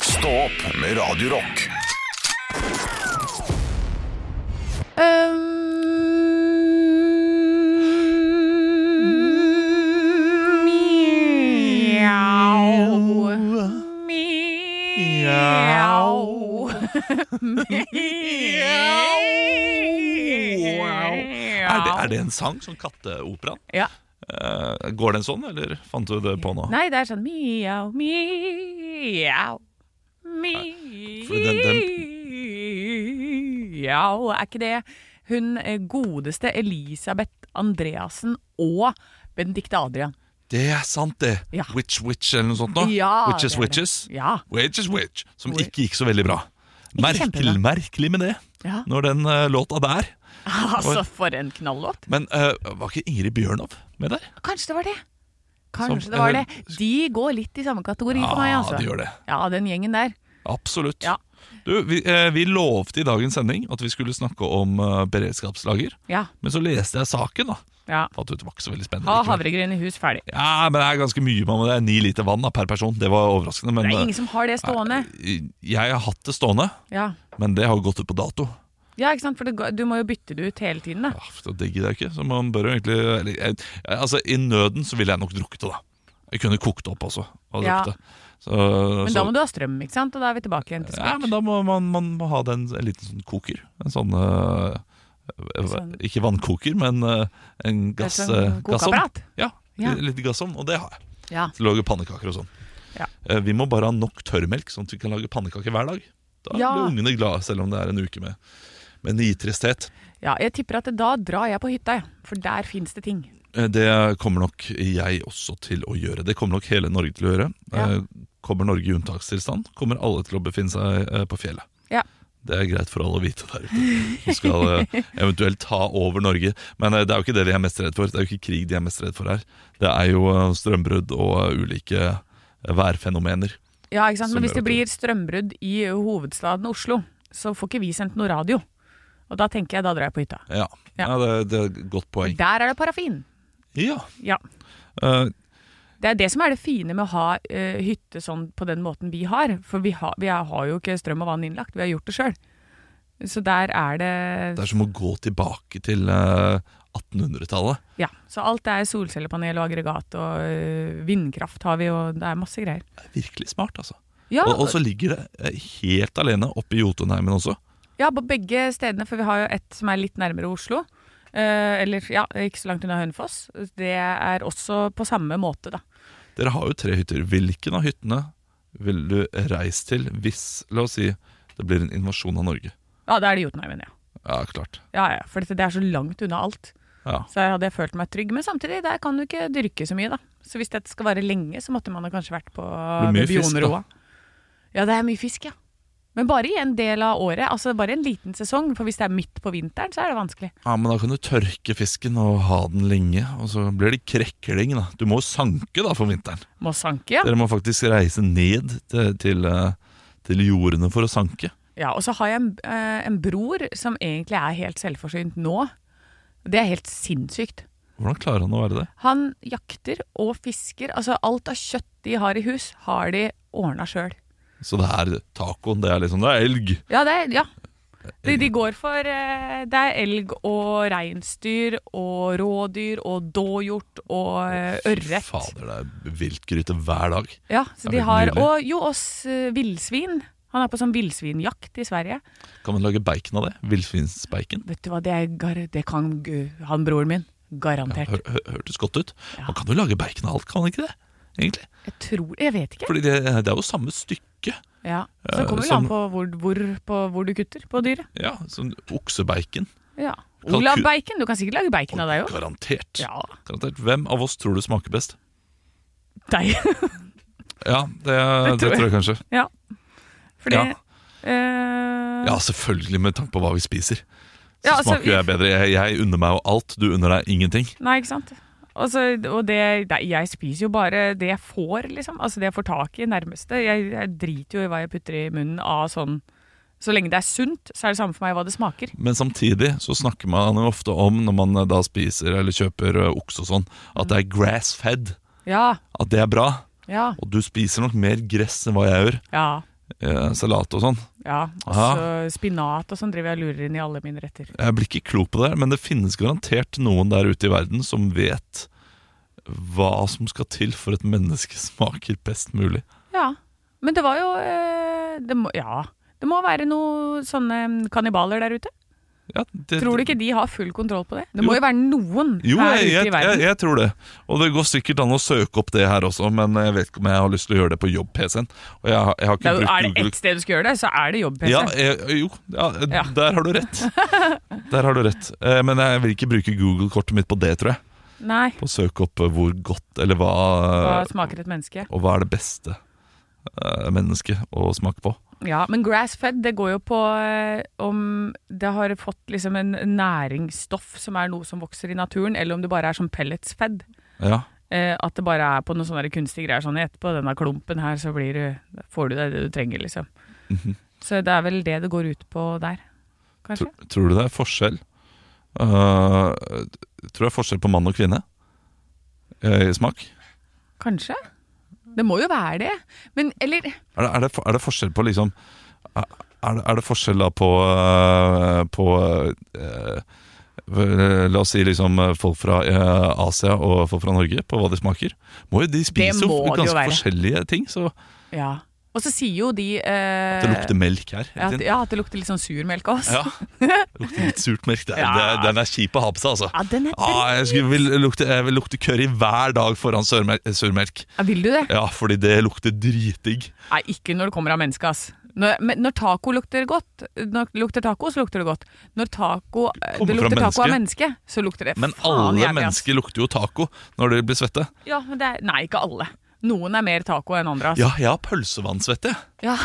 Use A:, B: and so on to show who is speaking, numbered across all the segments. A: Stå opp med Radio Rock.
B: Mjau. Mjau.
C: Er det, er det en sang? Sånn katteoperaen?
B: Ja.
C: Eh, går den sånn, eller fant du det på nå?
B: Nei, det er sånn mjau, mjau, mjau.
C: for den-
B: Er ikke det hun eh, godeste Elisabeth Andreassen og Benedicte Adrian?
C: Det er sant, det.
B: Ja.
C: Witch Witch eller noe sånt nå.
B: Ja,
C: Witches
B: det er det.
C: Witches.
B: Ja.
C: Witch is Witch. Som
B: Oi.
C: ikke gikk så veldig bra. Merkelig,
B: kjempebra.
C: merkelig med det,
B: Ja.
C: når den eh, låta der.
B: Altså, for en knallåt.
C: Men eh, var ikke Ingrid Bjørnov med der?
B: Kanskje det var det. Kanskje
C: Som-
B: det var det.
C: eller-
B: De går litt i samme kategori for meg, altså.
C: det gjør det.
B: Ja, den gjengen der.
C: Absolutt.
B: Ja.
C: Du, vi, eh, vi lovte i dagens sending at vi skulle snakke om eh, beredskapslager.
B: Ja.
C: Men så leste jeg saken, da.
B: ja.
C: Fant ut det var ikke så veldig spennende.
B: Ha
C: likevel.
B: havregryn i hus ferdig.
C: Ja, men det er ganske mye. Man må det er ni liter vann da, per person. Det var overraskende. Men
B: Det er ingen som har det stående.
C: eh, jeg har hatt det stående,
B: Ja,
C: men det har jo gått ut på dato.
B: ja ikke sant? For det, ga- du må jo bytte det ut hele tiden, da.
C: Ja, for det gidder jeg ikke. Så man bør jo egentlig eller, jeg, Altså, I nøden så ville jeg nok drukket det, da. Jeg kunne kokt det opp også. Og
B: Ja.
C: drukket det. Så,
B: Men da må du ha strøm, ikke sant? Og da er vi tilbake igjen til
C: ja,
B: smart.
C: men da må man, man må ha den, en liten sånn koker. En sånn eh, eh,
B: Sånn-
C: Ikke vannkoker, men eh, en gass,
B: Det er sånn
C: eh, gassovn.
B: kokeapparat.
C: Ja,
B: Ja.
C: litt gassovn. Og det har jeg.
B: Ja.
C: Så lager pannekaker og sånn.
B: Ja.
C: Eh, Vi må bare ha nok tørrmelk, sånn at vi kan lage pannekaker hver dag. Da
B: Ja.
C: blir ungene glade, selv om det er en uke med, med nitristhet.
B: ja, jeg tipper at da drar jeg på hytta, jeg. For der fins det ting.
C: Eh, Det kommer nok jeg også til å gjøre. Det kommer nok hele Norge til å gjøre.
B: Ja.
C: Eh, Kommer Norge i unntakstilstand, kommer alle til å befinne seg eh, på fjellet.
B: Ja.
C: Det er greit for alle å vite der ute. Som skal eh, eventuelt ta over Norge. Men eh, det er jo ikke det de er mest redd for. Det er jo ikke krig de er mest redd for her. Det er jo eh, strømbrudd og eh, ulike eh, værfenomener.
B: Ja, ikke sant?
C: Som
B: Men hvis
C: gjør
B: det
C: at
B: blir strømbrudd i hovedstaden Oslo, så får ikke vi sendt noe radio. Og da tenker jeg da drar jeg på hytta.
C: Ja, ja.
B: Ja.
C: det, det er et godt poeng.
B: Der er det parafin.
C: Ja.
B: Ja.
C: eh,
B: Det er det som er det fine med å ha eh, hytte sånn på den måten vi har. For vi har, vi har jo ikke strøm og vann innlagt, vi har gjort det sjøl. Så der er det
C: det er som å gå tilbake til eh, 1800-tallet.
B: Ja. Så alt er solcellepanel og aggregat og eh, vindkraft har vi, og det er masse greier.
C: Det er virkelig smart, altså.
B: Ja,
C: Og, og så ligger det eh, helt alene oppe i Jotunheimen også.
B: Ja, på begge stedene, for vi har jo et som er litt nærmere Oslo. Eh, eller ja, ikke så langt unna Hønefoss. Det er også på samme måte, da.
C: Dere har jo tre hytter. Hvilken av hyttene vil du reise til hvis, la oss si, det blir en invasjon av Norge?
B: Ja, da er det Jotunheimen, ja.
C: Ja, klart.
B: Ja, ja, For dette, det er så langt unna alt.
C: Ja.
B: Så jeg hadde jeg følt meg trygg. Men samtidig, der kan du ikke dyrke så mye, da. Så hvis dette skal vare lenge, så måtte man ha kanskje vært på
C: mye
B: ved
C: fisk, da.
B: Bionroa. Ja, det er mye fisk, ja. Men bare i en del av året. Altså bare en liten sesong. For hvis det er midt på vinteren, så er det vanskelig.
C: ja, men da kan du tørke fisken og ha den lenge, og så blir det krekling, da. Du må jo sanke da for vinteren.
B: Må sanke, ja.
C: Dere må faktisk reise ned til, til, eh, til jordene for å sanke.
B: Ja, og så har jeg en, eh, en bror som egentlig er helt selvforsynt nå. Det er helt sinnssykt.
C: Hvordan klarer han å være det?
B: Han jakter og fisker. Altså alt av kjøtt de har i hus, har de ordna sjøl.
C: Så det er tacoen, det er liksom, det er elg.
B: Ja, det er, ja. De, de går for eh, Det er elg og reinsdyr og rådyr og dåhjort og eh, ørret.
C: Fader, det er viltgryte hver dag.
B: Ja, så
C: Det er
B: de
C: helt
B: har
C: nydelig.
B: Og jo, oss eh, villsvin. Han er på sånn villsvinjakt i Sverige.
C: Kan man lage bacon av det? Villsvinsbacon?
B: Vet du hva, det, er, gar- det kan gu- han broren min. Garantert.
C: Hør, hør, hørtes godt ut.
B: Ja.
C: Man kan jo lage bacon av alt, kan man ikke det? Egentlig.
B: Jeg tror Jeg vet ikke.
C: Fordi det, det er jo samme stykke.
B: Ja,
C: Eh,
B: Så det kommer vel
C: som-
B: an på hvor, hvor, på hvor du kutter på dyret.
C: Ja, sånn oksebacon.
B: Ja.
C: Kalkun.
B: Olav Bacon. Du kan sikkert lage bacon av deg òg.
C: Garantert.
B: Ja.
C: Garantert. Hvem av oss tror du smaker best?
B: Deg.
C: Ja, det, det,
B: tror
C: tror, jeg.
B: jeg.
C: kanskje.
B: ja. Fordi
C: Ja.
B: eh,
C: Ja, selvfølgelig, med tanke på hva vi spiser. Så
B: Ja, altså,
C: smaker jo jeg bedre. Jeg, jeg unner meg jo alt, du unner deg ingenting.
B: Nei, ikke sant. Og så- og det, nei, jeg spiser jo bare det jeg får, liksom. Altså det jeg får tak i nærmeste. Jeg, jeg driter jo i hva jeg putter i munnen av sånn Så lenge det er sunt, så er det samme for meg hva det smaker.
C: Men samtidig så snakker man jo ofte om, når man eh, da spiser eller kjøper ø, okse og sånn, at det er grass-fed.
B: Ja.
C: At det er bra.
B: Ja.
C: Og du spiser nok mer gress enn hva jeg gjør.
B: Ja.
C: eh, salat og sånn.
B: Ja, og så spinat og sånn driver jeg og lurer inn i alle mine retter.
C: Jeg blir ikke klok på det, her, men det finnes garantert noen der ute i verden som vet hva som skal til for et menneske smaker best mulig.
B: Ja, men det var jo eh, det må, Ja, det må være noen sånne kannibaler der ute.
C: Ja, det,
B: Tror du ikke de har full kontroll på det? Det
C: Jo.
B: må jo være noen
C: Jo,
B: her
C: jeg,
B: ute
C: jeg,
B: i verden.
C: jeg, jeg tror det. Og det går sikkert an å søke opp det her også, men eh, jeg vet ikke om jeg har lyst til å gjøre det på jobb-PC-en. Og jeg, har- jeg har
B: Det
C: ikke
B: er, jo- er
C: brukt
B: det ett
C: Google.
B: sted du skal gjøre det, så er det jobb-PC.
C: Ja, jeg, jo, ja, eh,
B: Ja.
C: der har du rett. Der har du rett. Eh, Men jeg vil ikke bruke Google-kortet mitt på det, tror jeg.
B: Nei,
C: På å søke opp eh, hvor godt, eller hva,
B: hva smaker et menneske?
C: Og hva er det beste eh, mennesket å smake på.
B: Ja, men grass-fed, det går jo på eh, om det har fått liksom en næringsstoff som er noe som vokser i naturen, eller om det bare er sånn pellets-fed.
C: Ja,
B: Eh, at det bare er på noen sånne kunstige greier sånn etterpå denne klumpen her, så blir du, får du deg det du trenger, liksom.
C: Mhm.
B: Så det er vel det det går ut på der, kanskje?
C: Tro, tror du det er forskjell? Eh, tror det er forskjell på mann og kvinne eh, i smak?
B: Kanskje? Det må jo være det. Men eller
C: Er det, er det, er det forskjell på liksom Er er det, er det forskjell da på, eh, på eh, eh, La oss si liksom eh, folk fra eh, Asia og folk fra Norge på hva de smaker. Må jo de
B: Det
C: spise jo
B: må det jo
C: ganske
B: være.
C: forskjellige ting, så
B: Ja. Og så sier jo de eh,
C: det lukter melk her.
B: ja,
C: hele
B: at,
C: tiden.
B: ja, at det lukter litt sånn surmelk av oss.
C: Ja, det lukter litt surt melk. Det, er-
B: Ja.
C: det, er- den er kjip å ha på seg, altså.
B: Ja, den er
C: Ah,
B: drit-
C: jeg, skulle, vil, lukte, jeg vil lukte curry hver dag foran sørmelk, surmelk.
B: ja, Vil du det?
C: Ja, fordi det lukter dritdigg.
B: Nei, ikke når det kommer av mennesket, ass. Når, men når taco lukter godt, når det lukter taco, så lukter det godt. Når taco, eh,
C: Kommer
B: det
C: fra
B: lukter taco av menneske, så lukter det
C: Men
B: faen
C: alle
B: jævlig, ass.
C: mennesker lukter jo taco når de blir svette.
B: Ja, men det er, nei, ikke alle. Noen er mer taco enn andre, ass.
C: Ja, jeg har pølsevannsvette. jeg.
B: Ja.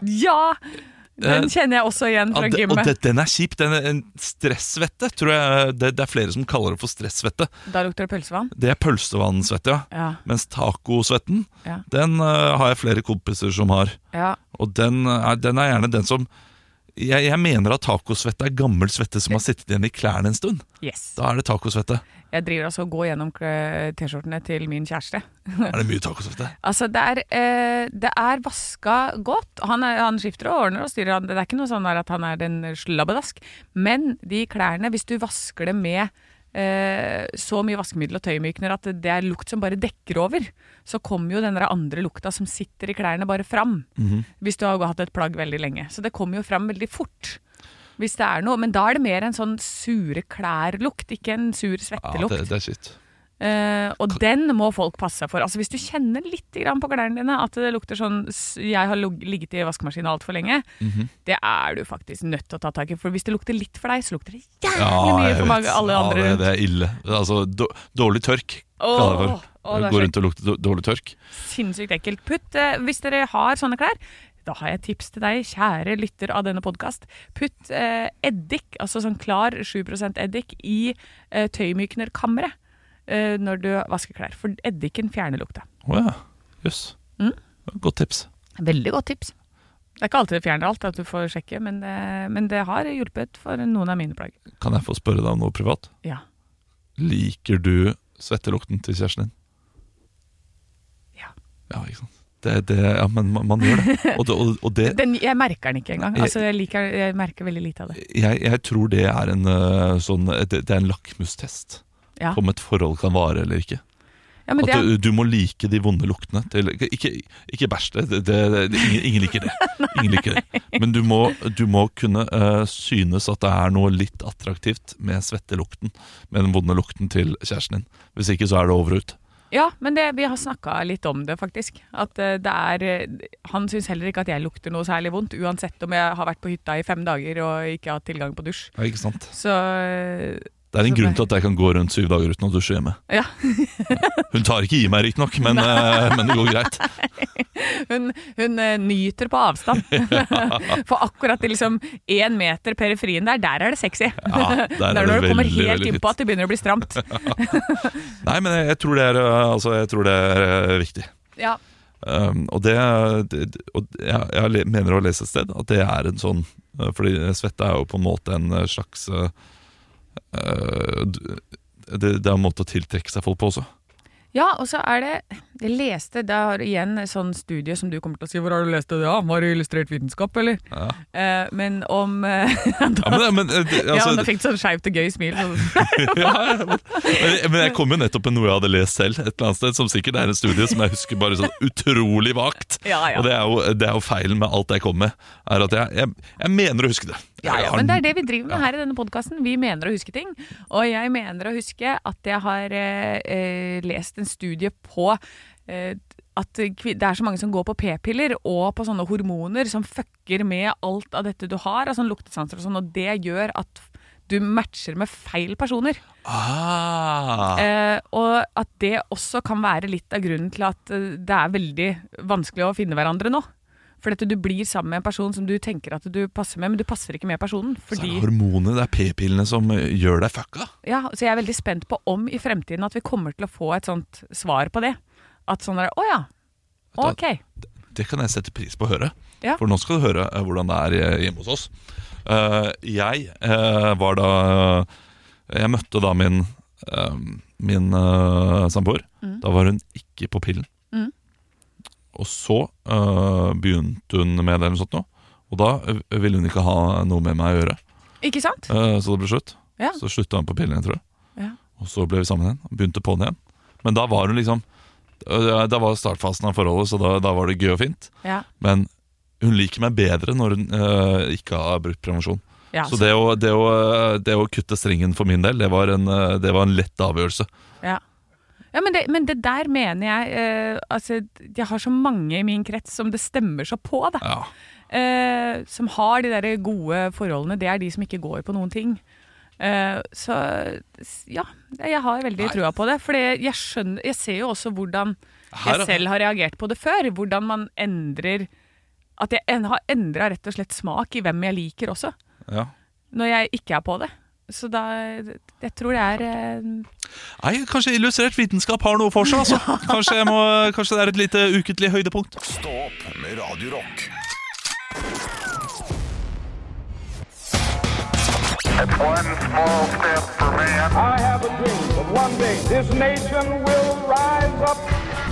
B: ja. Den kjenner jeg også igjen
C: Eh, Ja,
B: fra
C: det- og
B: gymmet.
C: det, den er kjip. Den er en stressvette, tror jeg. Det, det er flere som kaller det for stressvette.
B: Da lukter det pølsevann.
C: Det er pølsevannsvette, ja.
B: Ja.
C: Mens tacosvetten,
B: Ja.
C: den eh, har jeg flere kompiser som har.
B: ja.
C: Og den er, den er gjerne den som jeg, jeg mener at tacosvette er gammel svette som har sittet igjen i klærne en stund.
B: Yes.
C: Da er det tacosvette.
B: Jeg driver altså og går gjennom eh, T-skjortene til min kjæreste.
C: Er det mye tacosvette?
B: Altså, det er, eh, det er vaska godt. Han, er, han skifter og ordner og styrer. Han- Det er ikke noe sånn der at han er en slabbedask. Men de klærne, hvis du vasker det med eh, så mye vaskemiddel og tøymykner at det er lukt som bare dekker over, så kommer jo den der andre lukta som sitter i klærne, bare fram.
C: Mhm.
B: Hvis du har hatt et plagg veldig lenge. Så det kommer jo fram veldig fort. Hvis det er noe. Men da er det mer en sånn sure klærlukt, ikke en sur
C: Ja,
B: svettelukt.
C: det, det er shit.
B: Eh, og den må folk passe seg for. Altså Hvis du kjenner litt grann på klærne dine at det lukter sånn s- Jeg har log- ligget i vaskemaskinen altfor lenge.
C: Mhm.
B: Det er du faktisk nødt til å ta tak i. For hvis det lukter litt for deg, så lukter det jævlig mye
C: jeg
B: for mange,
C: vet.
B: alle
C: ja,
B: andre
C: det,
B: rundt.
C: det er ille. Altså, då- dårlig tørk.
B: Åh,
C: kaller jeg det
B: åh,
C: for.
B: det
C: Gå
B: er så
C: rundt og lukte då- dårlig tørk.
B: Sinnssykt ekkelt. Putt, eh, hvis dere har sånne klær, da har jeg et tips til deg, kjære lytter av denne podkast. Putt eh, eddik, altså sånn klar 7 eddik, i eh, tøymyknerkammeret eh, når du vasker klær. For eddiken fjerner lukta.
C: Å ja. Jøss.
B: Mm.
C: Godt tips.
B: Veldig godt tips. Det er ikke alltid det fjerner alt, at du får sjekke, men det, men det har hjulpet for noen av mine plagg.
C: Kan jeg få spørre deg om noe privat?
B: Ja.
C: Liker du svettelukten til kjæresten din?
B: Ja.
C: Ja, ikke sant. Det, det, ja, men man, man gjør det. Og det, og, og det
B: Den, jeg merker den ikke engang.
C: Nei, jeg-
B: Altså, jeg, liker, jeg merker veldig lite av det.
C: jeg, jeg tror det er en øh, sånn Det, det er en lakmustest
B: Ja,
C: på om et forhold kan vare eller ikke.
B: ja men
C: At
B: det er,
C: du, du må like de vonde luktene til Ikke, ikke bæsj, det, det, det, det, ingen, ingen liker det. Ingen liker det. Men du må, du må kunne eh, synes at det er noe litt attraktivt med svettelukten, med den vonde lukten til kjæresten din. Hvis ikke så er det over og ut.
B: ja, men det, vi har snakka litt om det, faktisk. At eh, det er eh, Han syns heller ikke at jeg lukter noe særlig vondt, uansett om jeg har vært på hytta i fem dager og ikke har hatt tilgang på dusj.
C: Ja, ikke sant?
B: Så eh,
C: Det er en
B: Så
C: grunn til at jeg kan gå rundt syv dager uten å dusje hjemme.
B: Ja.
C: Hun tar ikke i meg, riktignok, men, eh, men det går greit.
B: hun, hun eh, nyter på avstand. For akkurat i liksom én meter periferien der, der er det sexy.
C: Ja, der er
B: det er når
C: det
B: du kommer
C: veldig,
B: helt
C: veldig
B: innpå at det begynner å bli stramt.
C: Nei, men jeg, jeg, tror, det er, eh, altså, jeg tror det er eh, viktig.
B: Ja,
C: Um, og det, det og jeg, jeg le- mener å lese et sted at det er en sånn uh, Fordi svette er jo på en måte en uh, slags eh, uh, uh, d- det, det er en måte å tiltrekke seg folk på også.
B: Ja, og så er det Jeg leste Det er igjen et sånn studie som du kommer til å si Hvor har du lest det? Ja, Var det illustrert vitenskap, eller?
C: Ja.
B: Eh, men om eh,
C: Ja, men, men, eh, det-
B: Ja,
C: altså,
B: men da fikk du sånn skjevt og gøy smil. sånn.
C: ja, ja, men, men- men jeg kom jo nettopp med noe jeg hadde lest selv, et eller annet sted, som sikkert er en studie som jeg husker bare sånn utrolig vagt.
B: Ja, ja.
C: Og det er, jo, det er jo feilen med alt jeg kom med, er at jeg, jeg, jeg mener å huske det.
B: Ja,
C: Jeg
B: ja,
C: har-
B: men det er det vi driver med her i denne podkasten. Vi mener å huske ting. Og jeg mener å huske at jeg har eh, eh, lest en studie på eh, at kvi- det er så mange som går på p-piller og på sånne hormoner som fucker med alt av dette du har, altså luktesanser og sånn, og det gjør at du matcher med feil personer.
C: Ah,
B: Eh, og at det også kan være litt av grunnen til at eh, det er veldig vanskelig å finne hverandre nå. For at du blir sammen med en person som du tenker at du passer med, men du passer ikke med personen.
C: så er
B: Fordi
C: det hormonene, det er p-pillene som eh, gjør deg fucka.
B: ja, så jeg er veldig spent på om i fremtiden at vi kommer til å få et sånt svar på det. At sånn er det, å ja,
C: Da-
B: ok.
C: Det kan jeg sette pris på å høre.
B: Ja.
C: For nå skal du høre eh, hvordan det er eh, hjemme hos oss. Eh, jeg eh, var da Jeg møtte da min, eh, min eh, samboer.
B: Mm.
C: Da var hun ikke på pillen.
B: Mm.
C: Og så eh, begynte hun med det eller noe sånt nå. Og da eh, ville hun ikke ha noe med meg å gjøre,
B: Ikke sant?
C: Eh, så det ble slutt.
B: Ja.
C: Så slutta hun på pillen, jeg tror.
B: Ja.
C: Og så ble vi sammen igjen. Begynte på den igjen. Men da var hun liksom Da var startfasen av forholdet, så da, da var det gøy og fint.
B: Ja.
C: Men hun liker meg bedre når hun øh, ikke har brukt prevensjon.
B: Ja,
C: Så det å, det, å, øh, det å kutte strengen for min del, det var en, øh, det var en lett avgjørelse.
B: ja. ja men, det, men det der mener jeg eh, Altså, jeg har så mange i min krets som det stemmer så på, da.
C: Ja.
B: Eh, som har de der gode forholdene. Det er de som ikke går på noen ting. Eh, så s- ja, jeg har veldig
C: Nei.
B: trua på det. For jeg skjønner Jeg ser jo også hvordan
C: Her,
B: jeg selv har reagert på det før. Hvordan man endrer At jeg en, har endra rett og slett smak i hvem jeg liker også,
C: ja.
B: når jeg ikke er på det. Så da Jeg tror det er eh,
C: Nei, kanskje illustrert vitenskap har noe for seg, altså. Kanskje, jeg må, kanskje det er et lite ukentlig høydepunkt.
A: Stå opp med Radio Rock.
D: It's one small step for man.
E: I have a dream that one day this nation will rise up.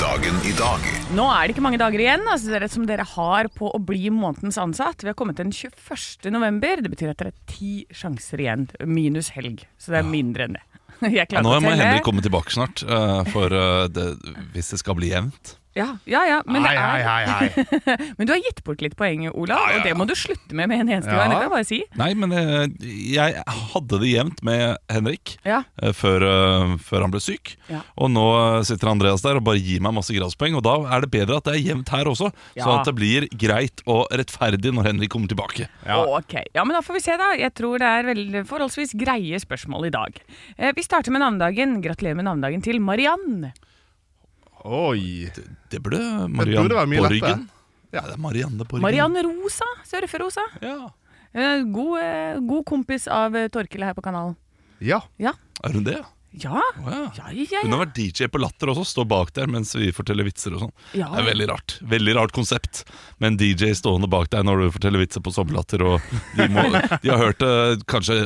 A: Dagen i dag
B: Nå er det ikke mange dager igjen altså dere, som dere har på å bli månedens ansatt. Vi har kommet til den 21. november. Det betyr at det er ti sjanser igjen, minus helg. Så det er mindre enn det. Jeg
C: Ja,
B: klarer
C: nå
B: ikke å
C: må
B: telle.
C: Henrik komme tilbake snart, øh, for øh, det, hvis det skal bli jevnt.
B: Ja, ja, ja, men, det er,
F: hei, hei.
B: men du har gitt bort litt poeng, Olav,
C: Ja, ja,
B: og det må du slutte med med en eneste
F: Ja.
B: gang. Det kan jeg bare si.
C: Nei, men øh, jeg hadde det jevnt med Henrik.
B: Ja,
C: eh, før, eh, før han ble syk.
B: Ja.
C: Og nå eh, sitter Andreas der og bare gir meg masse gradspoeng. Og da er det bedre at det er jevnt her også, sånn
B: Ja.
C: at det blir greit og rettferdig når Henrik kommer tilbake.
F: Ja.
B: Ok, ja, men da får vi se da. Jeg tror det er vel forholdsvis greie spørsmål i dag. Eh, vi starter med navnedagen. Gratulerer med navnedagen til Mariann.
F: Oi.
C: Det burde
F: Jeg tror det
C: Marianne
F: var mye
C: Borgen.
F: lettere.
C: Ja, det er Marianne Borgen.
B: Mariann Rosa, surferosa.
C: Ja.
B: Eh, god, eh, god kompis av eh, Torkil her på kanalen.
F: Ja.
C: Er hun det?
B: Ja,
C: Å, ja.
B: ja,
C: Hun
B: ja, ja.
C: har vært DJ på Latter også, står bak der mens vi forteller vitser og sånn.
B: Ja.
C: Det er veldig rart. Veldig rart konsept med en DJ stående bak deg når du forteller vitser på sommerlatter, og de, må, de har hørt det kanskje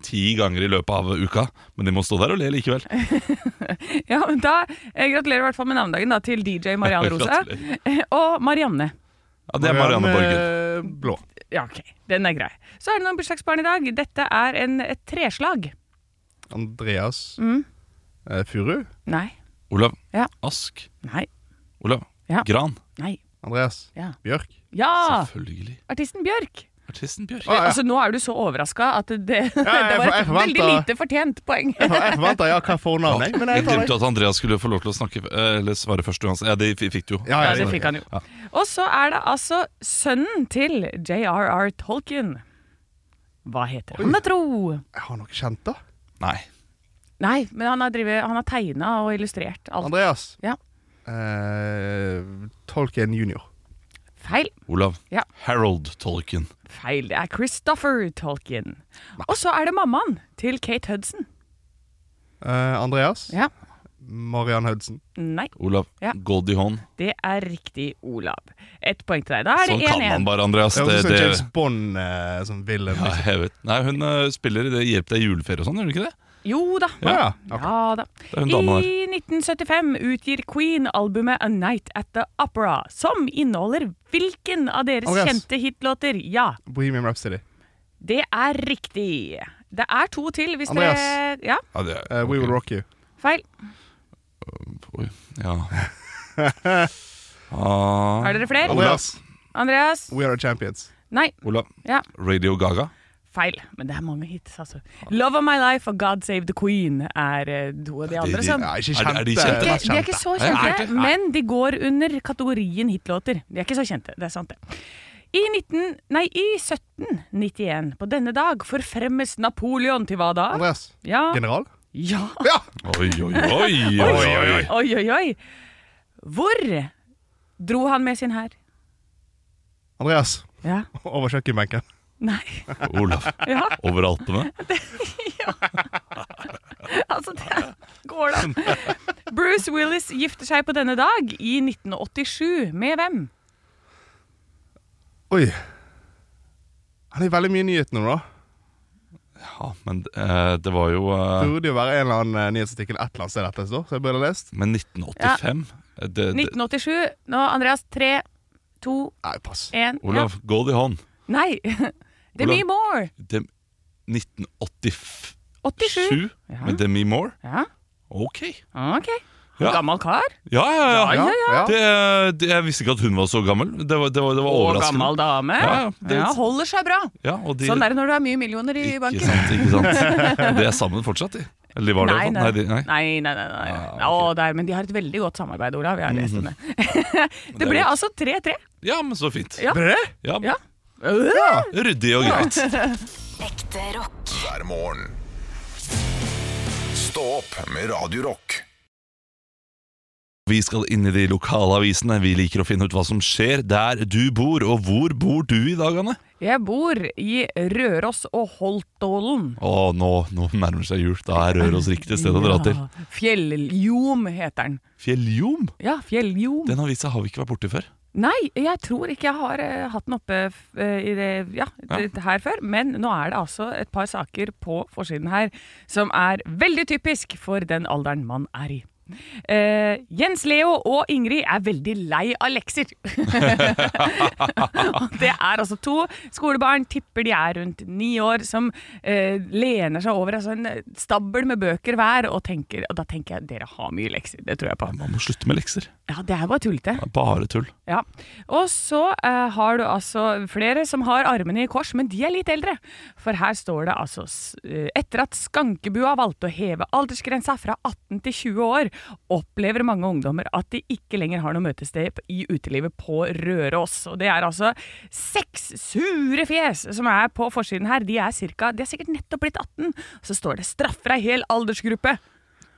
C: ti ganger i løpet av uka, men de må stå der og le likevel.
B: ja men da eh, Gratulerer i hvert fall med navnedagen da, til DJ Marianne Rosa.
C: Gratulerer.
B: Eh, og Marianne.
C: Ja, det er Marianne Borgen.
F: Borgen. eh, Blå.
B: Ja, ok, den er grei. Så er det noen bursdagsbarn i dag. Dette er en, et treslag.
F: Andreas eh, Furu.
B: Nei.
C: Olav
B: Ja.
C: Ask.
B: Nei.
C: Olav
B: Ja. Ah.
C: Gran.
B: Nei.
F: Andreas
B: Ja.
F: Bjørk.
B: Ja!
C: Selvfølgelig.
B: Artisten Bjørk.
C: Artisten Bjørk.
F: Ah, ja.
B: Altså, nå er du så overraska at det, det var
F: jeg
B: et
F: forventa-
B: veldig lite fortjent poeng.
F: Jeg for- jeg forventa ja, hva fornavn jeg, men
C: Jeg
F: jeg tar
C: glemte
F: det.
C: at Andreas skulle få lov til å snakke eh, Eller svare først uansett. Ja, det f- fikk du jo.
F: Ja,
B: Ja,
F: ja,
B: det fikk han jo.
C: Ja.
B: Og så er det altså sønnen til J.R.R. Tolkien. Hva heter han, da, tro?
F: Jeg har noe kjent, da.
C: Nei.
B: Nei, men han har, drivet- han har tegna og illustrert alt.
F: Andreas.
B: Ja.
F: Eh, Tolkien junior.
B: Feil.
C: Olav.
B: Ja.
C: Harold Tolkien.
B: Feil. Det er Christopher Tolkien. Og så er det mammaen til Kate Hudson.
F: Eh, Andreas.
B: Ja.
F: Mariann Hudson.
B: Nei,
C: Olav
B: Ja.
C: Goldie Hawn.
B: det er riktig, Olav. Ett poeng til deg. Da er
C: Sånn
B: det
C: kan man
B: 1-1.
C: bare, Andreas.
F: Det
C: Det,
F: høres ut som
C: det,
F: James Bond eh, som villain.
C: ja,
F: Liksom.
C: jeg vet. Nei, hun eh, spiller i det Hjelp deg i juleferie og sånn, gjør hun ikke det?
B: Jo da.
C: Ja.
F: Ja, ok.
B: Ja da.
C: Det er en dame der.
B: I 1975 utgir Queen albumet A Night at the Opera, som inneholder hvilken av deres
F: Andreas.
B: kjente hitlåter? Ja,
F: Bohemian Rhapsody.
B: det er riktig. Det er to til hvis
F: Andreas.
B: dere Ja,
C: Ja, det
F: Eh,
C: er,
F: We Will
C: ok.
F: Rock You.
B: feil.
C: Oi, ja. Ah,
B: Har dere flere?
F: Andreas.
B: Andreas?
F: We Are The Champions.
B: Nei.
C: Olav.
B: Ja,
C: Radio Gaga.
B: feil. Men det er mange hits, altså. Love of My Life og God Save the Queen er eh, to av de
C: Ja, det er
B: andre
C: de-
B: som
F: Ja,
C: Er
F: ikke
C: de- er
F: kjente.
C: de kjente?
B: ikke, de er ikke så
C: Nei,
B: kjente,
C: nei, nei.
B: men de går under kategorien hitlåter. De er ikke så kjente, det er sant det. I, 19, nei, I 1791, på denne dag, forfremmes Napoleon til hva da?
F: Andreas.
B: Ja,
F: General?
B: ja.
F: Ja!
C: Oi, oi, oi! oi, oi, oi.
B: Oi, oi, oi. Hvor dro han med sin hær?
F: Andreas.
B: Ja.
F: Over kjøkkenbenken.
B: Nei.
C: Olav.
B: Ja,
C: Over Alpene.
B: altså det går da. Bruce Willis gifter seg på denne dag i 1987 med hvem?
F: Oi. Han er veldig mye nyhet nå, da.
C: Ja, men eh, det var jo eh,
F: Det burde jo være en eller annen eh, nyhetsartikkel et eller annet sted dette står, så jeg burde ha lest.
C: Men 1985 det, det,
B: 1987. Nå, Andreas. Tre, to,
F: Nei, pass.
B: én. ja.
C: Olav, gål i hånd.
B: Nei. Demi
C: Olav.
B: Moore.
C: Dem- 1987
B: 87. Ja.
C: med Demi Moore?
B: Ja,
C: Ok.
B: ok.
C: Ja.
B: Gammel kar.
C: Ja, ja, ja.
B: Ja, ja,
F: ja.
C: Det, det, jeg visste ikke at hun var så gammel. Det var, det var, det var
B: Og
C: overraskende.
B: gammel dame.
C: Ja, ja, det-
B: Ja, holder seg bra.
C: Ja, og de,
B: Sånn er det når du har mye millioner i
C: ikke
B: banken.
C: sant, ikke sant. De er sammen fortsatt, de. Eller de var det? i hvert fall.
B: nei,
C: de, nei.
B: nei, nei, nei, nei.
C: Ah, ok. Mhm.
B: Å, der, Men de har et veldig godt samarbeid, Olav. Jeg har lest om det. det
C: Det
B: ble
C: er godt.
B: altså 3-3.
C: Ja, men så fint.
B: Ja.
F: Ble det?
C: Ja,
B: Ja.
C: Ryddig og greit.
G: Ekte rock.
A: hver morgen. Stå opp med Radio Rock.
C: Vi skal inn i de lokale avisene. Vi liker å finne ut hva som skjer der du bor. Og hvor bor du i dag, Anne?
B: Jeg bor i Røros og Holtålen.
C: Å, nå, nå nærmer seg jul. Da er Røros riktig sted å dra til.
B: Ja, Fjelljom heter den.
C: Fjelljom?
B: Ja, Fjelljom.
C: Den avisa har vi ikke vært borti før.
B: Nei, jeg tror ikke jeg har eh, hatt den oppe f- eh, i det, ja, det- her før. Men nå er det altså et par saker på forsiden her som er veldig typisk for den alderen man er i. Eh, Jens Leo og Ingrid er veldig lei av lekser. Og det er altså to skolebarn, tipper de er rundt ni år, som eh, lener seg over altså en stabel med bøker hver, og, tenker, og da tenker jeg dere har mye lekser. Det tror jeg på.
C: Man må slutte med lekser.
B: Ja, det er bare tullete.
C: Det er Bare tull.
B: Ja. Og så eh, har du altså flere som har armene i kors, men de er litt eldre. For her står det altså s- eh, Etter at skankebua valgte å heve aldersgrensa fra 18 til 20 år, opplever mange ungdommer at de ikke lenger har noe møtested p- i utelivet på Røros. Og det er altså seks sure fjes som er på forsiden her. De er, cirka, de er sikkert nettopp blitt 18. Så står det 'straffer ei hel aldersgruppe'.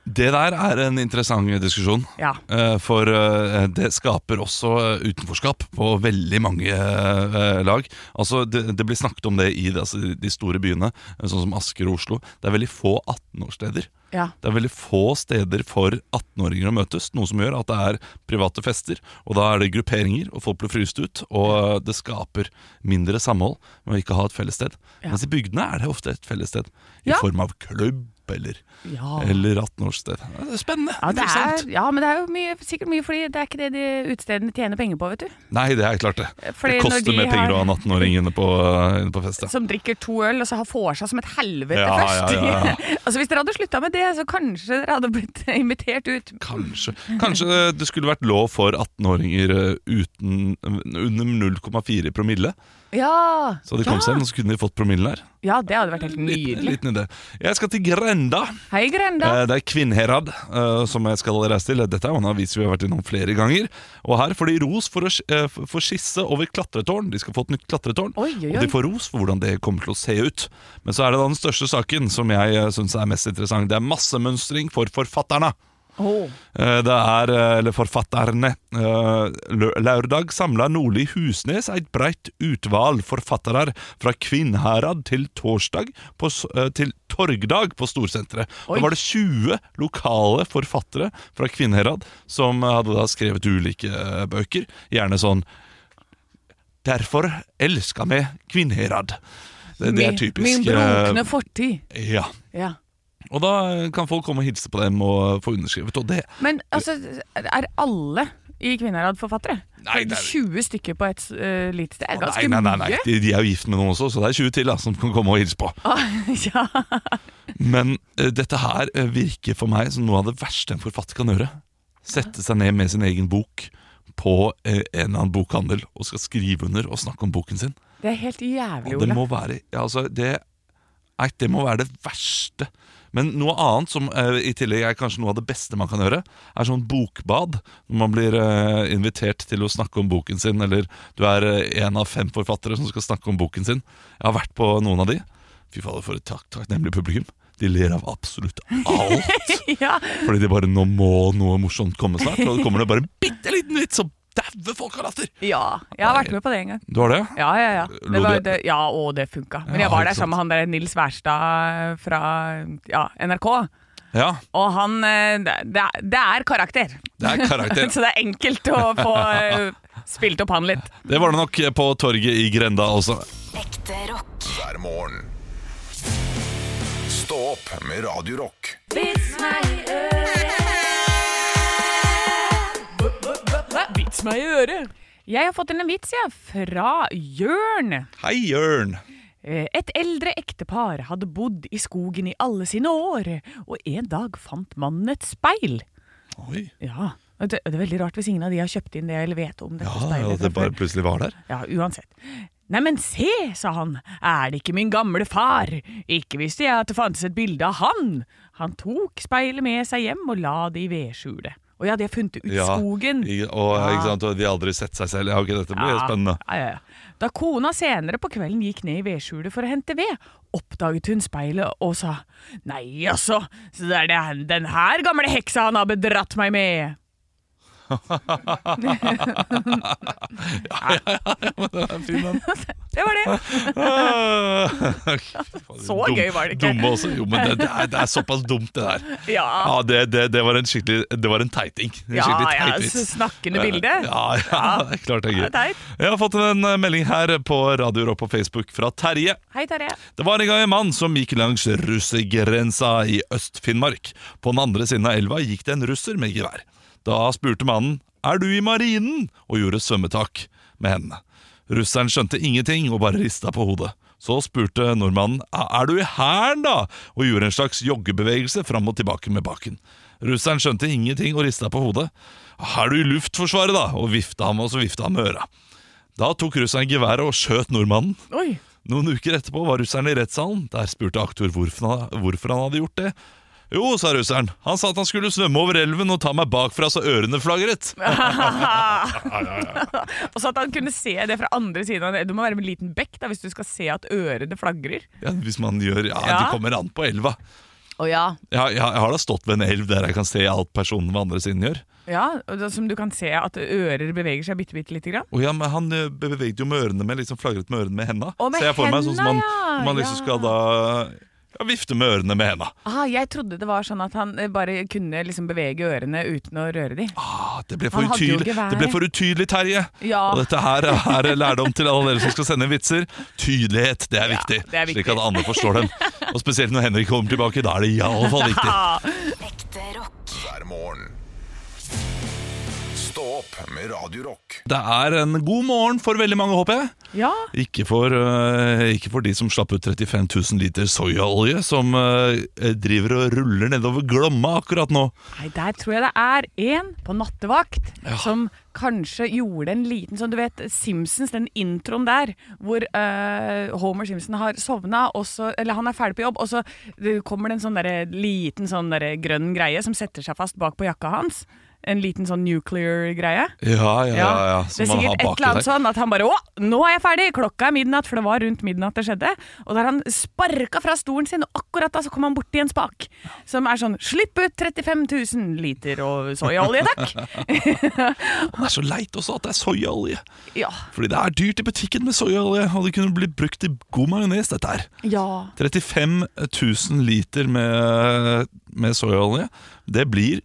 C: Det der er en interessant diskusjon.
B: Ja.
C: Eh, For eh, det skaper også eh, utenforskap på veldig mange eh, lag. Altså, det, det blir snakket om det i de- altså, de store byene, eh, sånn som Asker og Oslo. Det er veldig få 18-årssteder.
B: Ja.
C: Det er veldig få steder for 18-åringer å møtes, noe som gjør at det er private fester, og da er det grupperinger, og folk blir fryst ut, og eh, det skaper mindre samhold med å ikke ha et fellessted.
B: Ja.
C: Mens i bygdene er det ofte et fellessted, i
B: Ja.
C: form av klubb eller,
B: Ja.
C: eller 18-årssted. Ja, Det er spennende,
B: Ja, det er,
C: interessant.
B: ja, men det er jo mye, sikkert mye fordi det er ikke det de utestedene tjener penger på, vet du.
C: Nei, det er klart det.
B: Fordi
C: det
B: når
C: koster
B: de
C: mer penger å ha
B: har-
C: en 18-åring inne på, inne på fest, ja.
B: Som drikker to øl og så har får seg som et helvete
C: Ja, ja,
B: først.
C: ja, ja.
B: altså Hvis dere hadde slutta med det, så kanskje dere hadde blitt invitert ut.
C: Kanskje. Kanskje det skulle vært lov for 18-åringer eh, uten- under 0,4 i promille.
B: Ja,
C: Så hadde de kom
B: ja.
C: seg inn, og så kunne de fått promille der.
B: ja det hadde vært helt
C: Liten,
B: nydelig.
C: liten idé. Jeg skal til Grenda.
B: Hei, Grenda.
C: Eh, Det er Kvinnherad eh, som jeg skal reise til. Dette er jo en avis vi har vært innom flere ganger. Og her får de ros for å sk- eh, f- for skisse over klatretårn. De skal få et nytt klatretårn.
B: Oi, oi, oi.
C: Og de får ros for hvordan det kommer til å se ut. Men så er det da den største saken som jeg syns er mest interessant. Det er massemønstring for forfatterne.
B: Åh.
C: Eh, Det er, eh, eller forfatterne Eh, lø- Lørdag samla Nordli Husnes eit breitt utval forfattarar fra Kvinnherad til torsdag på, s- eh, til Torgdag på Storsenteret.
B: Oi.
C: Da var det 20 lokale forfattere fra Kvinnherad som eh, hadde da skrevet ulike eh, bøker. Gjerne sånn Derfor elska vi Kvinnherad. Det, det er
B: Min-
C: typisk.
B: Min
C: eh,
B: brunkne fortid.
C: Ja.
B: Ja.
C: Og da kan folk komme og hilse på dem og få underskrevet. Og det
B: Men altså, er alle i Kvinnherad forfattere?
C: Nei, det er-
B: 20 stykker på et uh, lite sted? Det er
C: Nei,
B: ganske
C: nei, nei, nei.
B: mye.
C: De, de er jo gift med noen også, så det er 20 til da, som kan komme og hilse på.
B: ja.
C: Men eh, dette her eh, virker for meg som noe av det verste en forfatter kan gjøre. Sette seg ned med sin egen bok på eh, en eller annen bokhandel og skal skrive under og snakke om boken sin.
B: Det er helt jævlig,
C: Og
B: Ole.
C: det må være ja, altså, det, nei, det må være det verste. Men noe annet som eh, i tillegg er kanskje noe av det beste man kan gjøre, er sånn bokbad. Når man blir eh, invitert til å snakke om boken sin, eller du er eh, en av fem forfattere som skal snakke om boken sin. Jeg har vært på noen av de. Fy fader, for et tak- takknemlig publikum. De ler av absolutt alt.
B: Ja,
C: Fordi de bare 'nå må noe morsomt komme snart', og det kommer det bare en bitte liten vits, så dauer folk av latter.
B: ja, jeg har vært med på det en gang.
C: Du har det?
B: Ja, ja, ja.
C: Lo
B: Det var,
C: dere?
B: det, ja, og det funka. Men
C: Ja,
B: jeg var
C: ikke
B: der sammen med han der Nils Wærstad fra ja, NRK.
C: Ja.
B: Og han eh, Det, det er- det er karakter.
C: Det er karakter.
B: Så det er enkelt å få eh, spilt opp han litt.
C: Det var det nok eh, på torget i Grenda også.
G: Ekte rock.
A: hver morgen. Stå opp med Radio Rock.
B: Vits meg i øret. Jeg har fått en vits, jeg, fra Jørn.
C: Hei, Jørn!
B: Eh, Et eldre ektepar hadde bodd i skogen i alle sine år, og en dag fant mannen et speil.
C: Oi.
B: Ja, og det, det er veldig rart hvis ingen av de har kjøpt inn det eller vet om dette
C: Ja,
B: speilet.
C: at det bare plutselig var der.
B: Ja, uansett. Neimen, se, sa han, er det ikke min gamle far? Ikke visste jeg at det fantes et bilde av han. Han tok speilet med seg hjem og la det i vedskjulet. Og ja, de har funnet det ut i
C: Ja,
B: skogen.
C: i- Og,
B: Ja.
C: ikke sant, og de har aldri sett seg selv. Ja, ok, dette blir
B: Ja,
C: spennende.
B: Ja, ja, ja. Da kona senere på kvelden gikk ned i vedskjulet for å hente ved, oppdaget hun speilet og sa Nei, altså, så det er det, den her gamle heksa han har bedratt meg med. Det var det. Så gøy var det ikke.
C: Ah. Dumme også. Jo, men det, det, er, det er såpass dumt, det der.
B: Ja.
C: Ja, det, det, det var en skikkelig Det var en teiting. En
B: Ja,
C: skikkelig
B: ja,
C: teit vits.
B: s- snakkende bilde.
C: Ja, ja, det er klart det er
B: Ja,
C: gøy.
B: det er teit.
C: Jeg har fått en eh, melding her på Radio Rock på Facebook fra Terje.
B: Hei, Terje.
C: Det var en gang en mann som gikk langs russegrensa i Øst-Finnmark. På den andre siden av elva gikk det en russer med gevær. Da spurte mannen 'Er du i marinen?' og gjorde svømmetak med hendene. Russeren skjønte ingenting og bare rista på hodet. Så spurte nordmannen 'Er du i hæren, da?' og gjorde en slags joggebevegelse fram og tilbake med baken. Russeren skjønte ingenting og rista på hodet. 'Er du i Luftforsvaret, da?' og vifta ham og så vifta ham med øra. Da tok russeren geværet og skjøt nordmannen.
B: Oi.
C: Noen uker etterpå var russeren i rettssalen. Der spurte aktor hvorfor han, hvorfor han hadde gjort det. Jo, sa russeren. Han sa at han skulle svømme over elven og ta meg bakfra så ørene flagret.
B: Og så at han kunne se det fra andre siden av Du må være med en liten bekk da, hvis du skal se at ørene flagrer.
C: Ja, hvis man gjør Ja,
B: Ja.
C: de kommer an på elva.
B: Å ja.
C: Ja, ja, jeg har da stått ved en elv der jeg kan se alt personen ved andre siden gjør.
B: Ja, og da- Som du kan se at ører beveger seg bitte, bitte lite grann.
C: Å ja, men han eh, bevegde jo med ørene med, liksom flagret med ørene med henda.
B: Å, med
C: Så jeg får meg
B: henda,
C: sånn som man,
B: ja,
C: man liksom
B: ja.
C: skal da ja, vifte med ørene med henda.
B: Ah, jeg trodde det var sånn at han eh, bare kunne liksom bevege ørene uten å røre de.
C: Ah, det ble for
B: Han hadde jo
C: utydelig,
B: geværet.
C: det ble for utydelig Terje.
B: Ja.
C: Og dette her er lærdom til alle dere som skal sende vitser. Tydelighet, det er
B: Ja,
C: viktig.
B: det er viktig.
C: Slik at andre forstår dem. Og spesielt når Henrik kommer tilbake, da er det iallfall viktig.
G: Ekte rock.
A: Hver morgen. Stå opp med Radio Rock.
C: Det er en god morgen for veldig mange, håper jeg.
B: Ja,
C: Ikke for, øh, ikke for de som slapp ut 35 000 liter soyaolje, som øh, driver og ruller nedover Glomma akkurat nå.
B: Nei, der tror jeg det er en på nattevakt som kanskje gjorde en liten sånn, du vet, Simpsons, den introen der, hvor eh, Homer Simpson har sovna, og så, eller han er ferdig på jobb, og så det kommer det en sånn derre liten sånn derre grønn greie som setter seg fast bak på jakka hans. En liten sånn nuclear-greie.
C: Ja, ja, ja. ja.
B: Det er sikkert et eller annet sånn at han bare Å, nå er jeg ferdig! Klokka er midnatt, for det var rundt midnatt det skjedde. Og da har han sparka fra stolen sin, og akkurat da så kom han borti en spak som er sånn Slipp ut 35 000 liter og soyaolje, takk!
C: Det er så leit også at det er soyaolje.
B: ja.
C: Fordi det er dyrt i butikken med soyaolje, og det kunne blitt brukt i god majones, dette her.
B: ja.
C: 35 000 liter med, med soyaolje. Det blir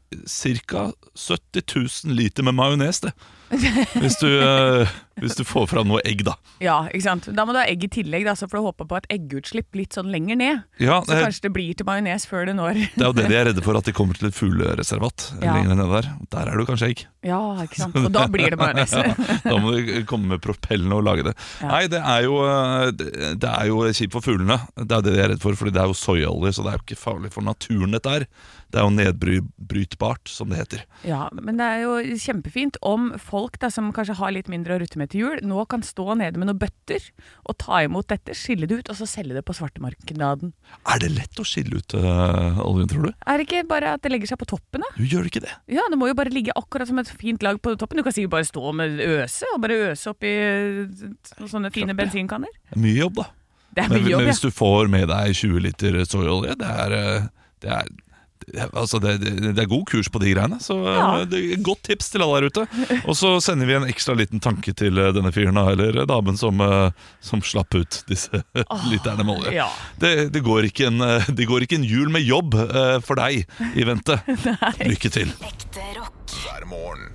C: ca. 70 000 liter med majones, det. Hvis du, eh, hvis du får fram noe egg, da.
B: Ja, ikke sant? Da må du ha egg i tillegg, da, så får du håpe på et eggutslipp litt sånn lenger ned.
C: Ja,
B: Så
C: eh,
B: kanskje det blir til majones før det når
C: Det er jo det de er redde for, at de kommer til et fuglereservat.
B: Ja.
C: lenger ned Der Der er det jo kanskje egg.
B: Ja, ikke sant? Og da blir det majones.
C: Ja, da må du komme med propellene og lage det.
B: Ja.
C: Nei, det er, jo, eh, det det er jo kjipt for fuglene. Det er jo det de er redd for, fordi det er jo soyaolje, så det er jo ikke farlig for naturen, dette her. Det er jo nedbrytbart, som det heter.
B: Ja, men det er jo kjempefint om folk da, som kanskje har litt mindre å rutte med til jul, nå kan stå nede med noen bøtter og ta imot dette, skille det ut og så selge det på svartemarkedet.
C: Er det lett å skille ut eh, oljen, tror du?
B: Er det ikke bare at det legger seg på toppen, da?
C: Du gjør det ikke det.
B: Ja, det må jo bare ligge akkurat som et fint lag på toppen. Du kan sikkert bare stå med øse, og bare øse oppi sånne fine bensinkanner.
C: Det er mye jobb, da.
B: Det er
C: Men,
B: mye
C: men
B: jobb, ja.
C: hvis du får med deg 20 liter soyaolje, det er, eh, det er det er- Altså det, det det er god kurs på de greiene, så eh,
B: Ja.
C: det er godt tips til alle der ute. Og så sender vi en ekstra liten tanke til eh, denne fyren da, eller damen som, eh, som slapp ut disse literne med olje.
B: ja.
C: Det, det, går ikke en, eh, det går ikke en jul med jobb eh, for deg i vente. Lykke til.
G: Ekte rock.
A: hver morgen.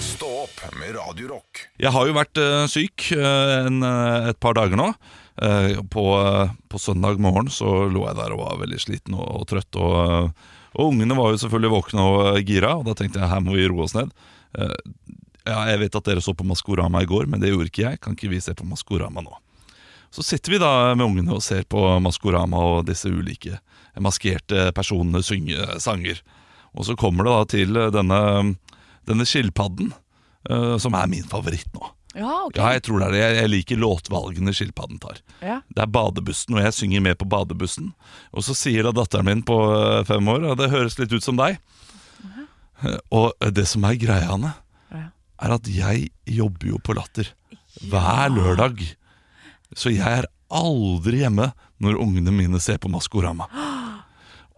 A: Stå opp med Radio Rock.
C: Jeg har jo vært eh, syk eh, en, eh, et par dager nå. Eh, på, eh, på søndag morgen så lå jeg der og var veldig sliten og, og trøtt. Og, eh, og ungene var jo selvfølgelig våkne og eh, gira, og da tenkte jeg her må vi roe oss ned. Eh, ja, jeg vet at dere så på Maskorama i går, men det gjorde ikke jeg. Kan ikke vi se på Maskorama nå? Så sitter vi da med ungene og ser på Maskorama og disse ulike eh, maskerte personene synge sanger. Og så kommer det da til eh, denne, denne skilpadden, eh, som er min favoritt nå.
B: Ja, ok.
C: Ja, jeg tror det er det. Jeg, jeg liker låtvalgene skilpadden tar.
B: Ja.
C: Det er badebussen, og jeg synger med på badebussen. Og så sier da datteren min på eh, fem år, og det høres litt ut som deg. Eh, Og det som er greia, Anne,
B: Ja.
C: er at jeg jobber jo på Latter hver lørdag. Så jeg er aldri hjemme når ungene mine ser på Maskorama.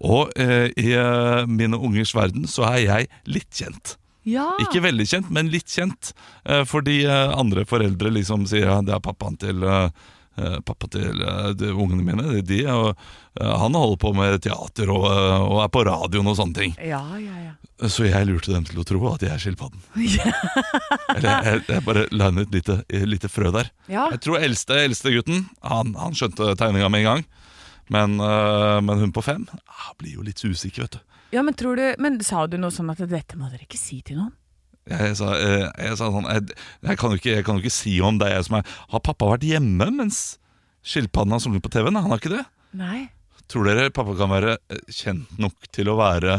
C: Og eh, i eh, mine ungers verden så er jeg litt kjent.
B: ja.
C: Ikke veldig kjent, men litt kjent. Eh, Fordi eh, andre foreldre liksom sier ja, det er pappaen til eh, eh, Pappa til eh, de ungene mine. det er De, og eh, han holder på med teater og, eh, og er på radioen og sånne ting.
B: Ja, ja, ja.
C: Så jeg lurte dem til å tro at jeg er skilpadden. Eller jeg, jeg bare la inn et lite, et lite frø der.
B: Ja.
C: Jeg tror eldste, eldste gutten han, han skjønte tegninga med en gang. Men, eh, men hun på fem ah, blir jo litt usikker, vet du.
B: ja men, tror du, men sa du noe sånn at dette må dere ikke si til noen?
C: Jeg sa, eh, jeg sa sånn jeg, jeg, kan jo ikke, jeg kan jo ikke si om det er jeg som er Har pappa vært hjemme mens skilpadden har sunget på TV-en? Han har ikke det?
B: Nei.
C: Tror dere pappa kan være eh, kjent nok til å være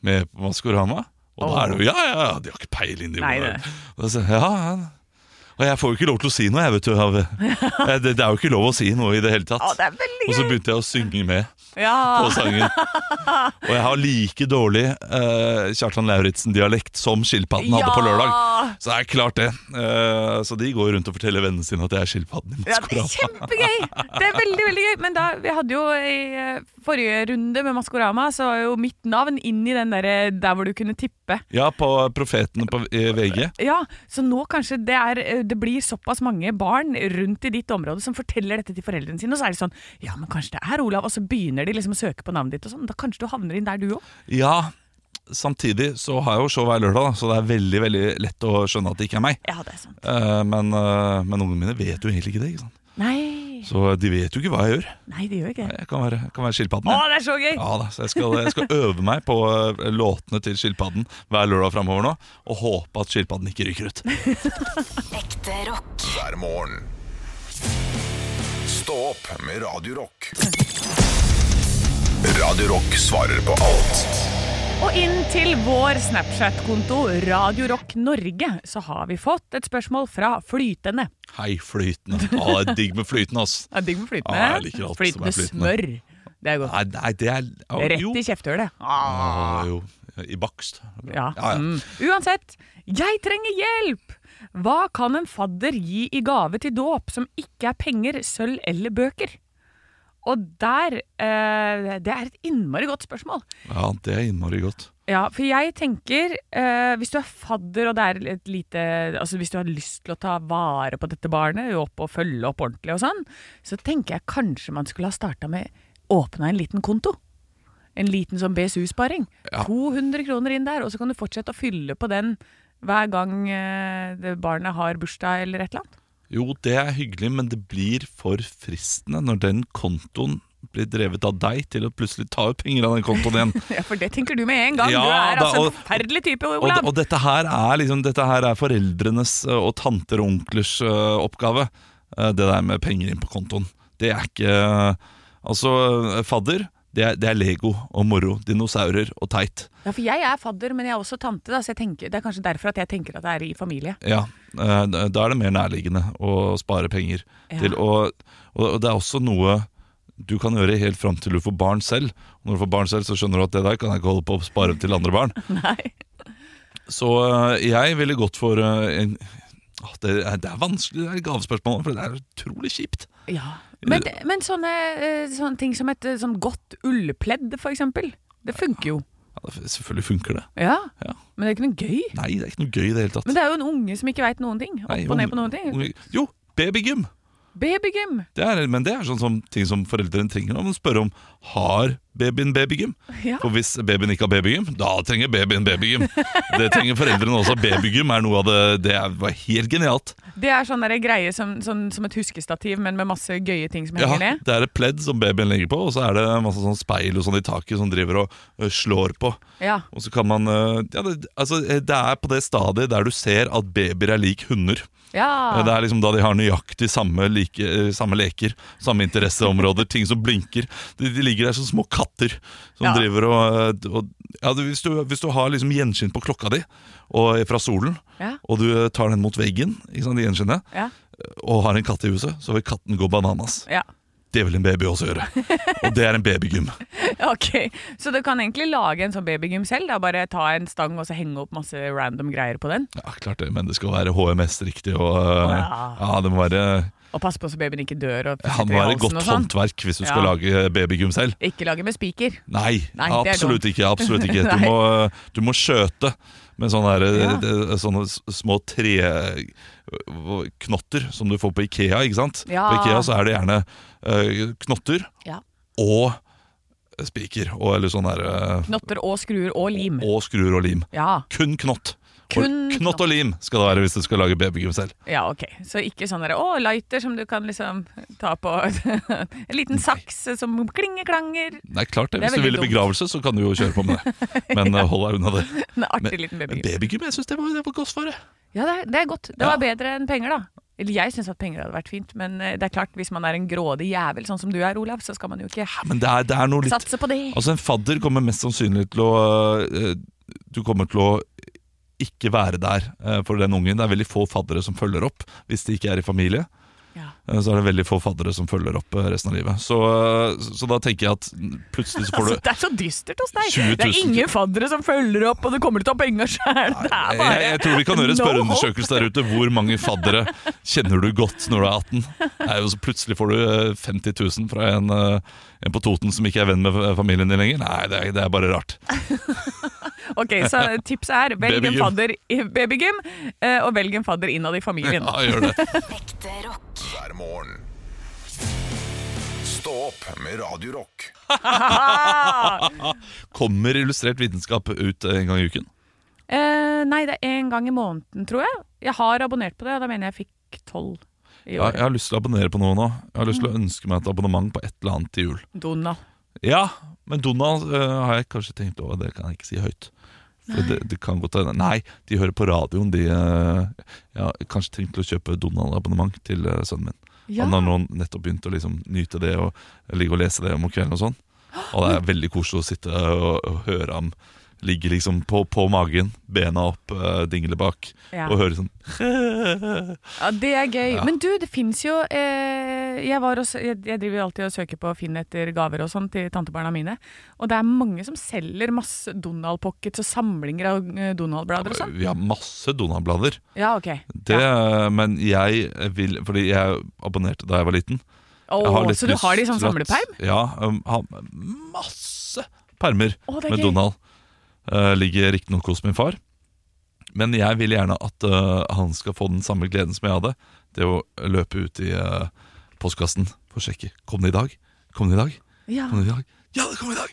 C: med på Maskorama? Og da er det jo Ja, ja, ja, de har ikke peiling, de.
B: Nei,
C: ungene.
B: det.
C: Og, da sier jeg, ja, ja. og jeg får jo ikke lov til å si noe, jeg, vet du. av- Eh, Det, det er jo ikke lov å si noe i det hele tatt.
B: Å, det er veldig
C: og så
B: gøy!
C: begynte jeg å synge med
B: Ja.
C: på sangen. Og jeg har like dårlig eh, Kjartan Lauritzen-dialekt som skilpadden hadde på lørdag.
B: Ja.
C: Så det er klart det. Eh, så de går rundt og forteller vennene sine at jeg er skilpadden i
B: Ja, det er
C: Maskorama.
B: kjempegøy! Det er veldig, veldig gøy. Men da, vi hadde jo i eh, forrige runde med Maskorama, så var jo mitt navn inn i den der, der hvor du kunne tippe.
C: Ja, på Profetene på eh, VG.
B: Ja, Så nå kanskje det, er, eh, det blir såpass mange barn rundt i ditt område som forteller dette til foreldrene sine, og så er det sånn Ja, men kanskje det er Olav, og så begynner de liksom å søke på navnet ditt og sånn. Da kanskje du havner inn der, du òg.
C: Ja, samtidig så har jeg jo show hver lørdag, da, så det er veldig veldig lett å skjønne at det ikke er meg.
B: Ja, det er sant.
C: Eh, men, eh, men ungene mine vet jo egentlig ikke det. ikke sant?
B: Nei,
C: Så de vet jo ikke hva jeg gjør.
B: nei det gjør jo ikke det.
C: Jeg kan være, jeg kan være skilpadden.
B: Å,
C: jeg.
B: det er så gøy!
C: Ja da, så jeg skal, jeg skal øve meg på eh, låtene til skilpadden hver lørdag framover nå, og håpe at skilpadden ikke ryker ut.
G: Ekte rock.
A: hver morgen. Stå opp med Radio Rock. Radio Rock svarer på alt
B: Og inn til vår Snapchat-konto Radio Rock Norge så har vi fått et spørsmål fra Flytende.
C: Hei, flytende. Å, det er digg med flytende, ass.
B: Ja, digg med flytende.
C: Ja, Ah, jeg liker alt som
B: flytende
C: er flytende.
B: smør. Det er godt.
C: Nei, nei det er å, jo.
B: Rett i kjeftehullet.
C: Ah, jo. I bakst.
B: Ja.
C: Ja, ja.
B: Mm. Uansett, jeg trenger hjelp! Hva kan en fadder gi i gave til dåp som ikke er penger, sølv eller bøker? Og der eh, Det er et innmari godt spørsmål.
C: Ja, det er innmari godt.
B: Ja, for jeg tenker eh, Hvis du er fadder og det er et lite Altså hvis du har lyst til å ta vare på dette barnet opp og følge opp ordentlig og sånn, så tenker jeg kanskje man skulle ha starta med Åpna en liten konto. En liten sånn BSU-sparing.
C: Ja.
B: 200 kroner inn der, og så kan du fortsette å fylle på den hver gang eh, det barnet har bursdag eller et eller annet.
C: Jo, det er hyggelig, men det blir for fristende når den kontoen blir drevet av deg til å plutselig ta ut penger av den kontoen igjen.
B: Ja, For det tenker du med en gang!
C: Ja,
B: du er
C: da,
B: altså
C: og-
B: en forferdelig type,
C: Og,
B: Olav.
C: og dette, her er liksom, dette her er foreldrenes eh, og tanter og onklers eh, oppgave. Eh, Det der med penger inn på kontoen. Det er ikke eh, Altså, eh, fadder, det er, det er Lego og moro. Dinosaurer og teit.
B: Ja, for jeg er fadder, men jeg er også tante, da, så jeg tenker, det er kanskje derfor at jeg tenker at det er i familie.
C: Ja, eh, da er det mer nærliggende å spare penger
B: Ja.
C: til. Og, og det er også noe du kan gjøre helt fram til du får barn selv. Og når du får barn selv, så skjønner du at det der kan jeg ikke holde på å spare til andre barn.
B: Nei.
C: Så eh, jeg ville gått for eh, en Åh, det, er, det er vanskelig, det er gavespørsmål, for det er utrolig kjipt.
B: Ja. Men, men sånne, eh, sånne ting som et eh, sånn godt ullpledd, for eksempel. Det funker jo.
C: Ja, det- selvfølgelig funker det.
B: Ja.
C: Ja.
B: Men det er ikke noe gøy.
C: Nei, det er ikke noe gøy i det hele tatt.
B: Men det er jo en unge som ikke veit noen ting. Opp
C: Nei,
B: og ned
C: unge-
B: på noen ting.
C: unge- Jo, babygym!
B: Babygym.
C: Det er, men det er sånn som, ting som foreldrene trenger å spørre om. Har babyen babygym?
B: Ja.
C: For hvis babyen ikke har babygym, da trenger babyen babygym. Det trenger foreldrene også. Babygym er noe av det Det er, var helt genialt.
B: Det er sånn der greie som, sånn, som et huskestativ, men med masse gøye ting som
C: Ja,
B: henger ned.
C: det er et pledd som babyen legger på, og så er det masse sånn speil og sånn i taket som driver og ø, slår på.
B: Ja.
C: Og så kan man ø, ja, det, altså, det er på det stadiet der du ser at babyer er lik hunder. Det
B: ja.
C: er liksom da de har nøyaktig samme, like, eh, samme leker, samme interesseområder, ting som blinker. De, de ligger der som små katter som
B: Ja.
C: driver og, eh, og ja, du, hvis, du, hvis du har liksom gjenskinn på klokka di og, fra solen,
B: Ja.
C: og du eh, tar den mot veggen, ikke sant, det gjenskinnet,
B: Ja.
C: og har en katt i huset, så vil katten gå bananas.
B: ja.
C: Det vil en baby også gjøre. Og det er en babygym.
B: Ok, Så du kan egentlig lage en sånn babygym selv? Da bare ta en stang og så henge opp masse random greier på den?
C: Ja, klart det, men det skal være HMS-riktig, og eh,
B: Ja.
C: ja, det må være,
B: Og passe på så babyen ikke dør
C: ja,
B: og
C: det
B: sitter i
C: må være
B: halsen
C: godt
B: og sånn?
C: håndverk hvis du skal
B: Ja.
C: lage babygym selv.
B: Ikke lage med spiker.
C: Nei,
B: Nei, det er
C: absolutt ikke. absolutt ikke Du
B: Nei.
C: må, du må skjøte med sånne, her,
B: Ja.
C: det- sånne s- små treknotter som du får på Ikea. ikke sant?
B: Ja.
C: På Ikea så er det gjerne eh, knotter
B: Ja.
C: og spiker. Og, eller sånn her eh,
B: Knotter og skruer og lim.
C: Og skruer og lim.
B: Ja,
C: Kun knott.
B: Kun
C: og knott og lim skal det være hvis du skal lage babygym selv.
B: ja, ok. Så ikke sånn derre å, lighter som du kan liksom ta på En liten saks som klingeklanger.
C: Nei, klart det.
B: Det er
C: Hvis du
B: veldig
C: vil i
B: dumt.
C: begravelse, så kan du jo kjøre på med det. Men eh, hold deg unna det.
B: En artig
C: Men-
B: liten
C: Men
B: babygym.
C: babygym, jeg syns det var, det var godt svaret.
B: Ja, det er, det er godt. Det var
C: Ja.
B: bedre enn penger, da. Eller jeg syns at penger hadde vært fint, men eh, det er klart, hvis man er en grådig jævel sånn som du er, Olav, så skal man jo ikke
C: Men det er, det er noe litt
B: satse på det.
C: Altså En fadder kommer mest sannsynlig til å eh, Du kommer til å ikke være der eh, for den ungen. Det er veldig få faddere som følger opp hvis de ikke er i familie.
B: Ja.
C: Eh, Så er det veldig få faddere som følger opp eh, resten av livet. Så, eh, så da tenker jeg at plutselig så får du
B: Altså, det er så dystert hos deg!
C: 20 000.
B: Det er ingen faddere som følger opp, og du kommer til å ta penga sjøl! Altså, Det er
C: jeg,
B: bare
C: jeg tror vi kan gjøre en
B: no
C: spørreundersøkelse der ute. Hvor mange faddere kjenner du godt når du er 18? Det er jo så plutselig får du eh, 50 000 fra en, eh, en på Toten som ikke er venn med eh, familien din lenger. Nei, det er, det er bare rart.
B: hope. Ok, Så tipset er velg en
C: Babygym.
B: fadder i babygym, eh, og velg en fadder innad i familien.
C: Ja, gjør det.
G: Ekte rock.
A: hver morgen. Stå opp med Radio Rock.
B: Ah!
C: Kommer Illustrert vitenskap ut en gang i uken?
B: Eh, nei, det er én gang i måneden, tror jeg. Jeg har abonnert på det, og da mener jeg jeg fikk tolv i
C: Ja,
B: år.
C: jeg har lyst til å abonnere på noe nå. Jeg har lyst
B: Mm.
C: til å ønske meg et abonnement på et eller annet til jul.
B: Donald.
C: Ja, men Donald øh, har jeg kanskje tenkt over. Det kan jeg ikke si høyt. For det, det kan godt hende. Nei, de hører på radioen. De, øh, jeg har kanskje tenkt til å kjøpe Donald-abonnement til øh, sønnen min.
B: Ja.
C: Han har nå nettopp begynt å liksom nyte det og ligge og lese det om kvelden og sånn. Og det er veldig koselig å sitte og, og høre ham ligge liksom på, på magen, bena opp, øh, dingle bak,
B: Ja.
C: og høre sånn
B: Ja, det er gøy.
C: Ja.
B: Men du, det fins jo eh, jeg, var også, jeg, jeg driver jo alltid og søker på Finn etter gaver og sånn til tantebarna mine. Og det er mange som selger masse Donald Pockets og samlinger av eh, Donald-blader og sånn.
C: Vi har masse Donald-blader.
B: Ja, ok.
C: Det, Men jeg vil Fordi jeg abonnerte da jeg var liten.
B: Å,
C: Jeg har litt
B: så du har de i
C: lyst
B: sånn
C: til at-
B: samleperm?
C: Ja. um, Har masse permer
B: Å, det er
C: med
B: gøy.
C: Donald. Uh, ligger riktignok hos min far. Men jeg vil gjerne at uh, han skal få den samme gleden som jeg hadde. Det å løpe ut i uh, postkassen for å sjekke. Kom det i dag? Kom det i dag?
B: Ja.
C: Kom det i dag? Ja, det kom i dag!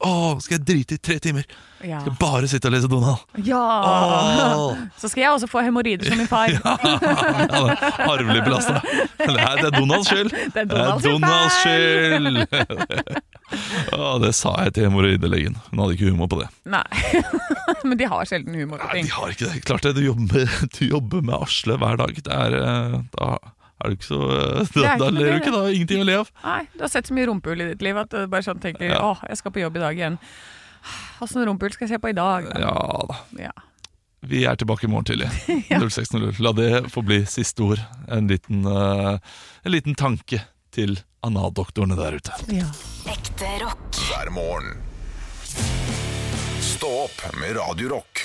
C: Åh, skal jeg drite i tre timer?
B: Ja.
C: Skal bare sitte og lese Donald.
B: ja.
C: Åh!
B: Så skal jeg også få hemoroider som min far.
C: Ja, det er Arvelig belasta. Det er, det er Donalds skyld.
B: Det er Donalds
C: det er Donalds
B: feil.
C: skyld. Å, det sa jeg til hemoroidelegen. Hun hadde ikke humor på det.
B: Nei. Men de har sjelden humor på
C: Nei,
B: ting.
C: de har ikke det. Klart det. Du jobber, du jobber med Asle hver dag. Det er, eh, da er du ikke så eh,
B: er
C: Da, da
B: ikke
C: ler
B: noe
C: du
B: bedre.
C: ikke, da. Ingenting å le av.
B: Nei, Du har sett så mye rumpehull i ditt liv at du bare sånn tenker
C: Ja.
B: åh, jeg skal på jobb i dag igjen. Åssen rumpehull skal jeg se på i dag? da?»
C: Ja da.
B: Ja.
C: Vi er tilbake i morgen tidlig. 06.00. La det få bli siste ord. En liten, eh, en liten tanke til analdoktorene der ute.
B: ja.
G: Ekte rock.
A: hver morgen. Stå opp med Radio Rock.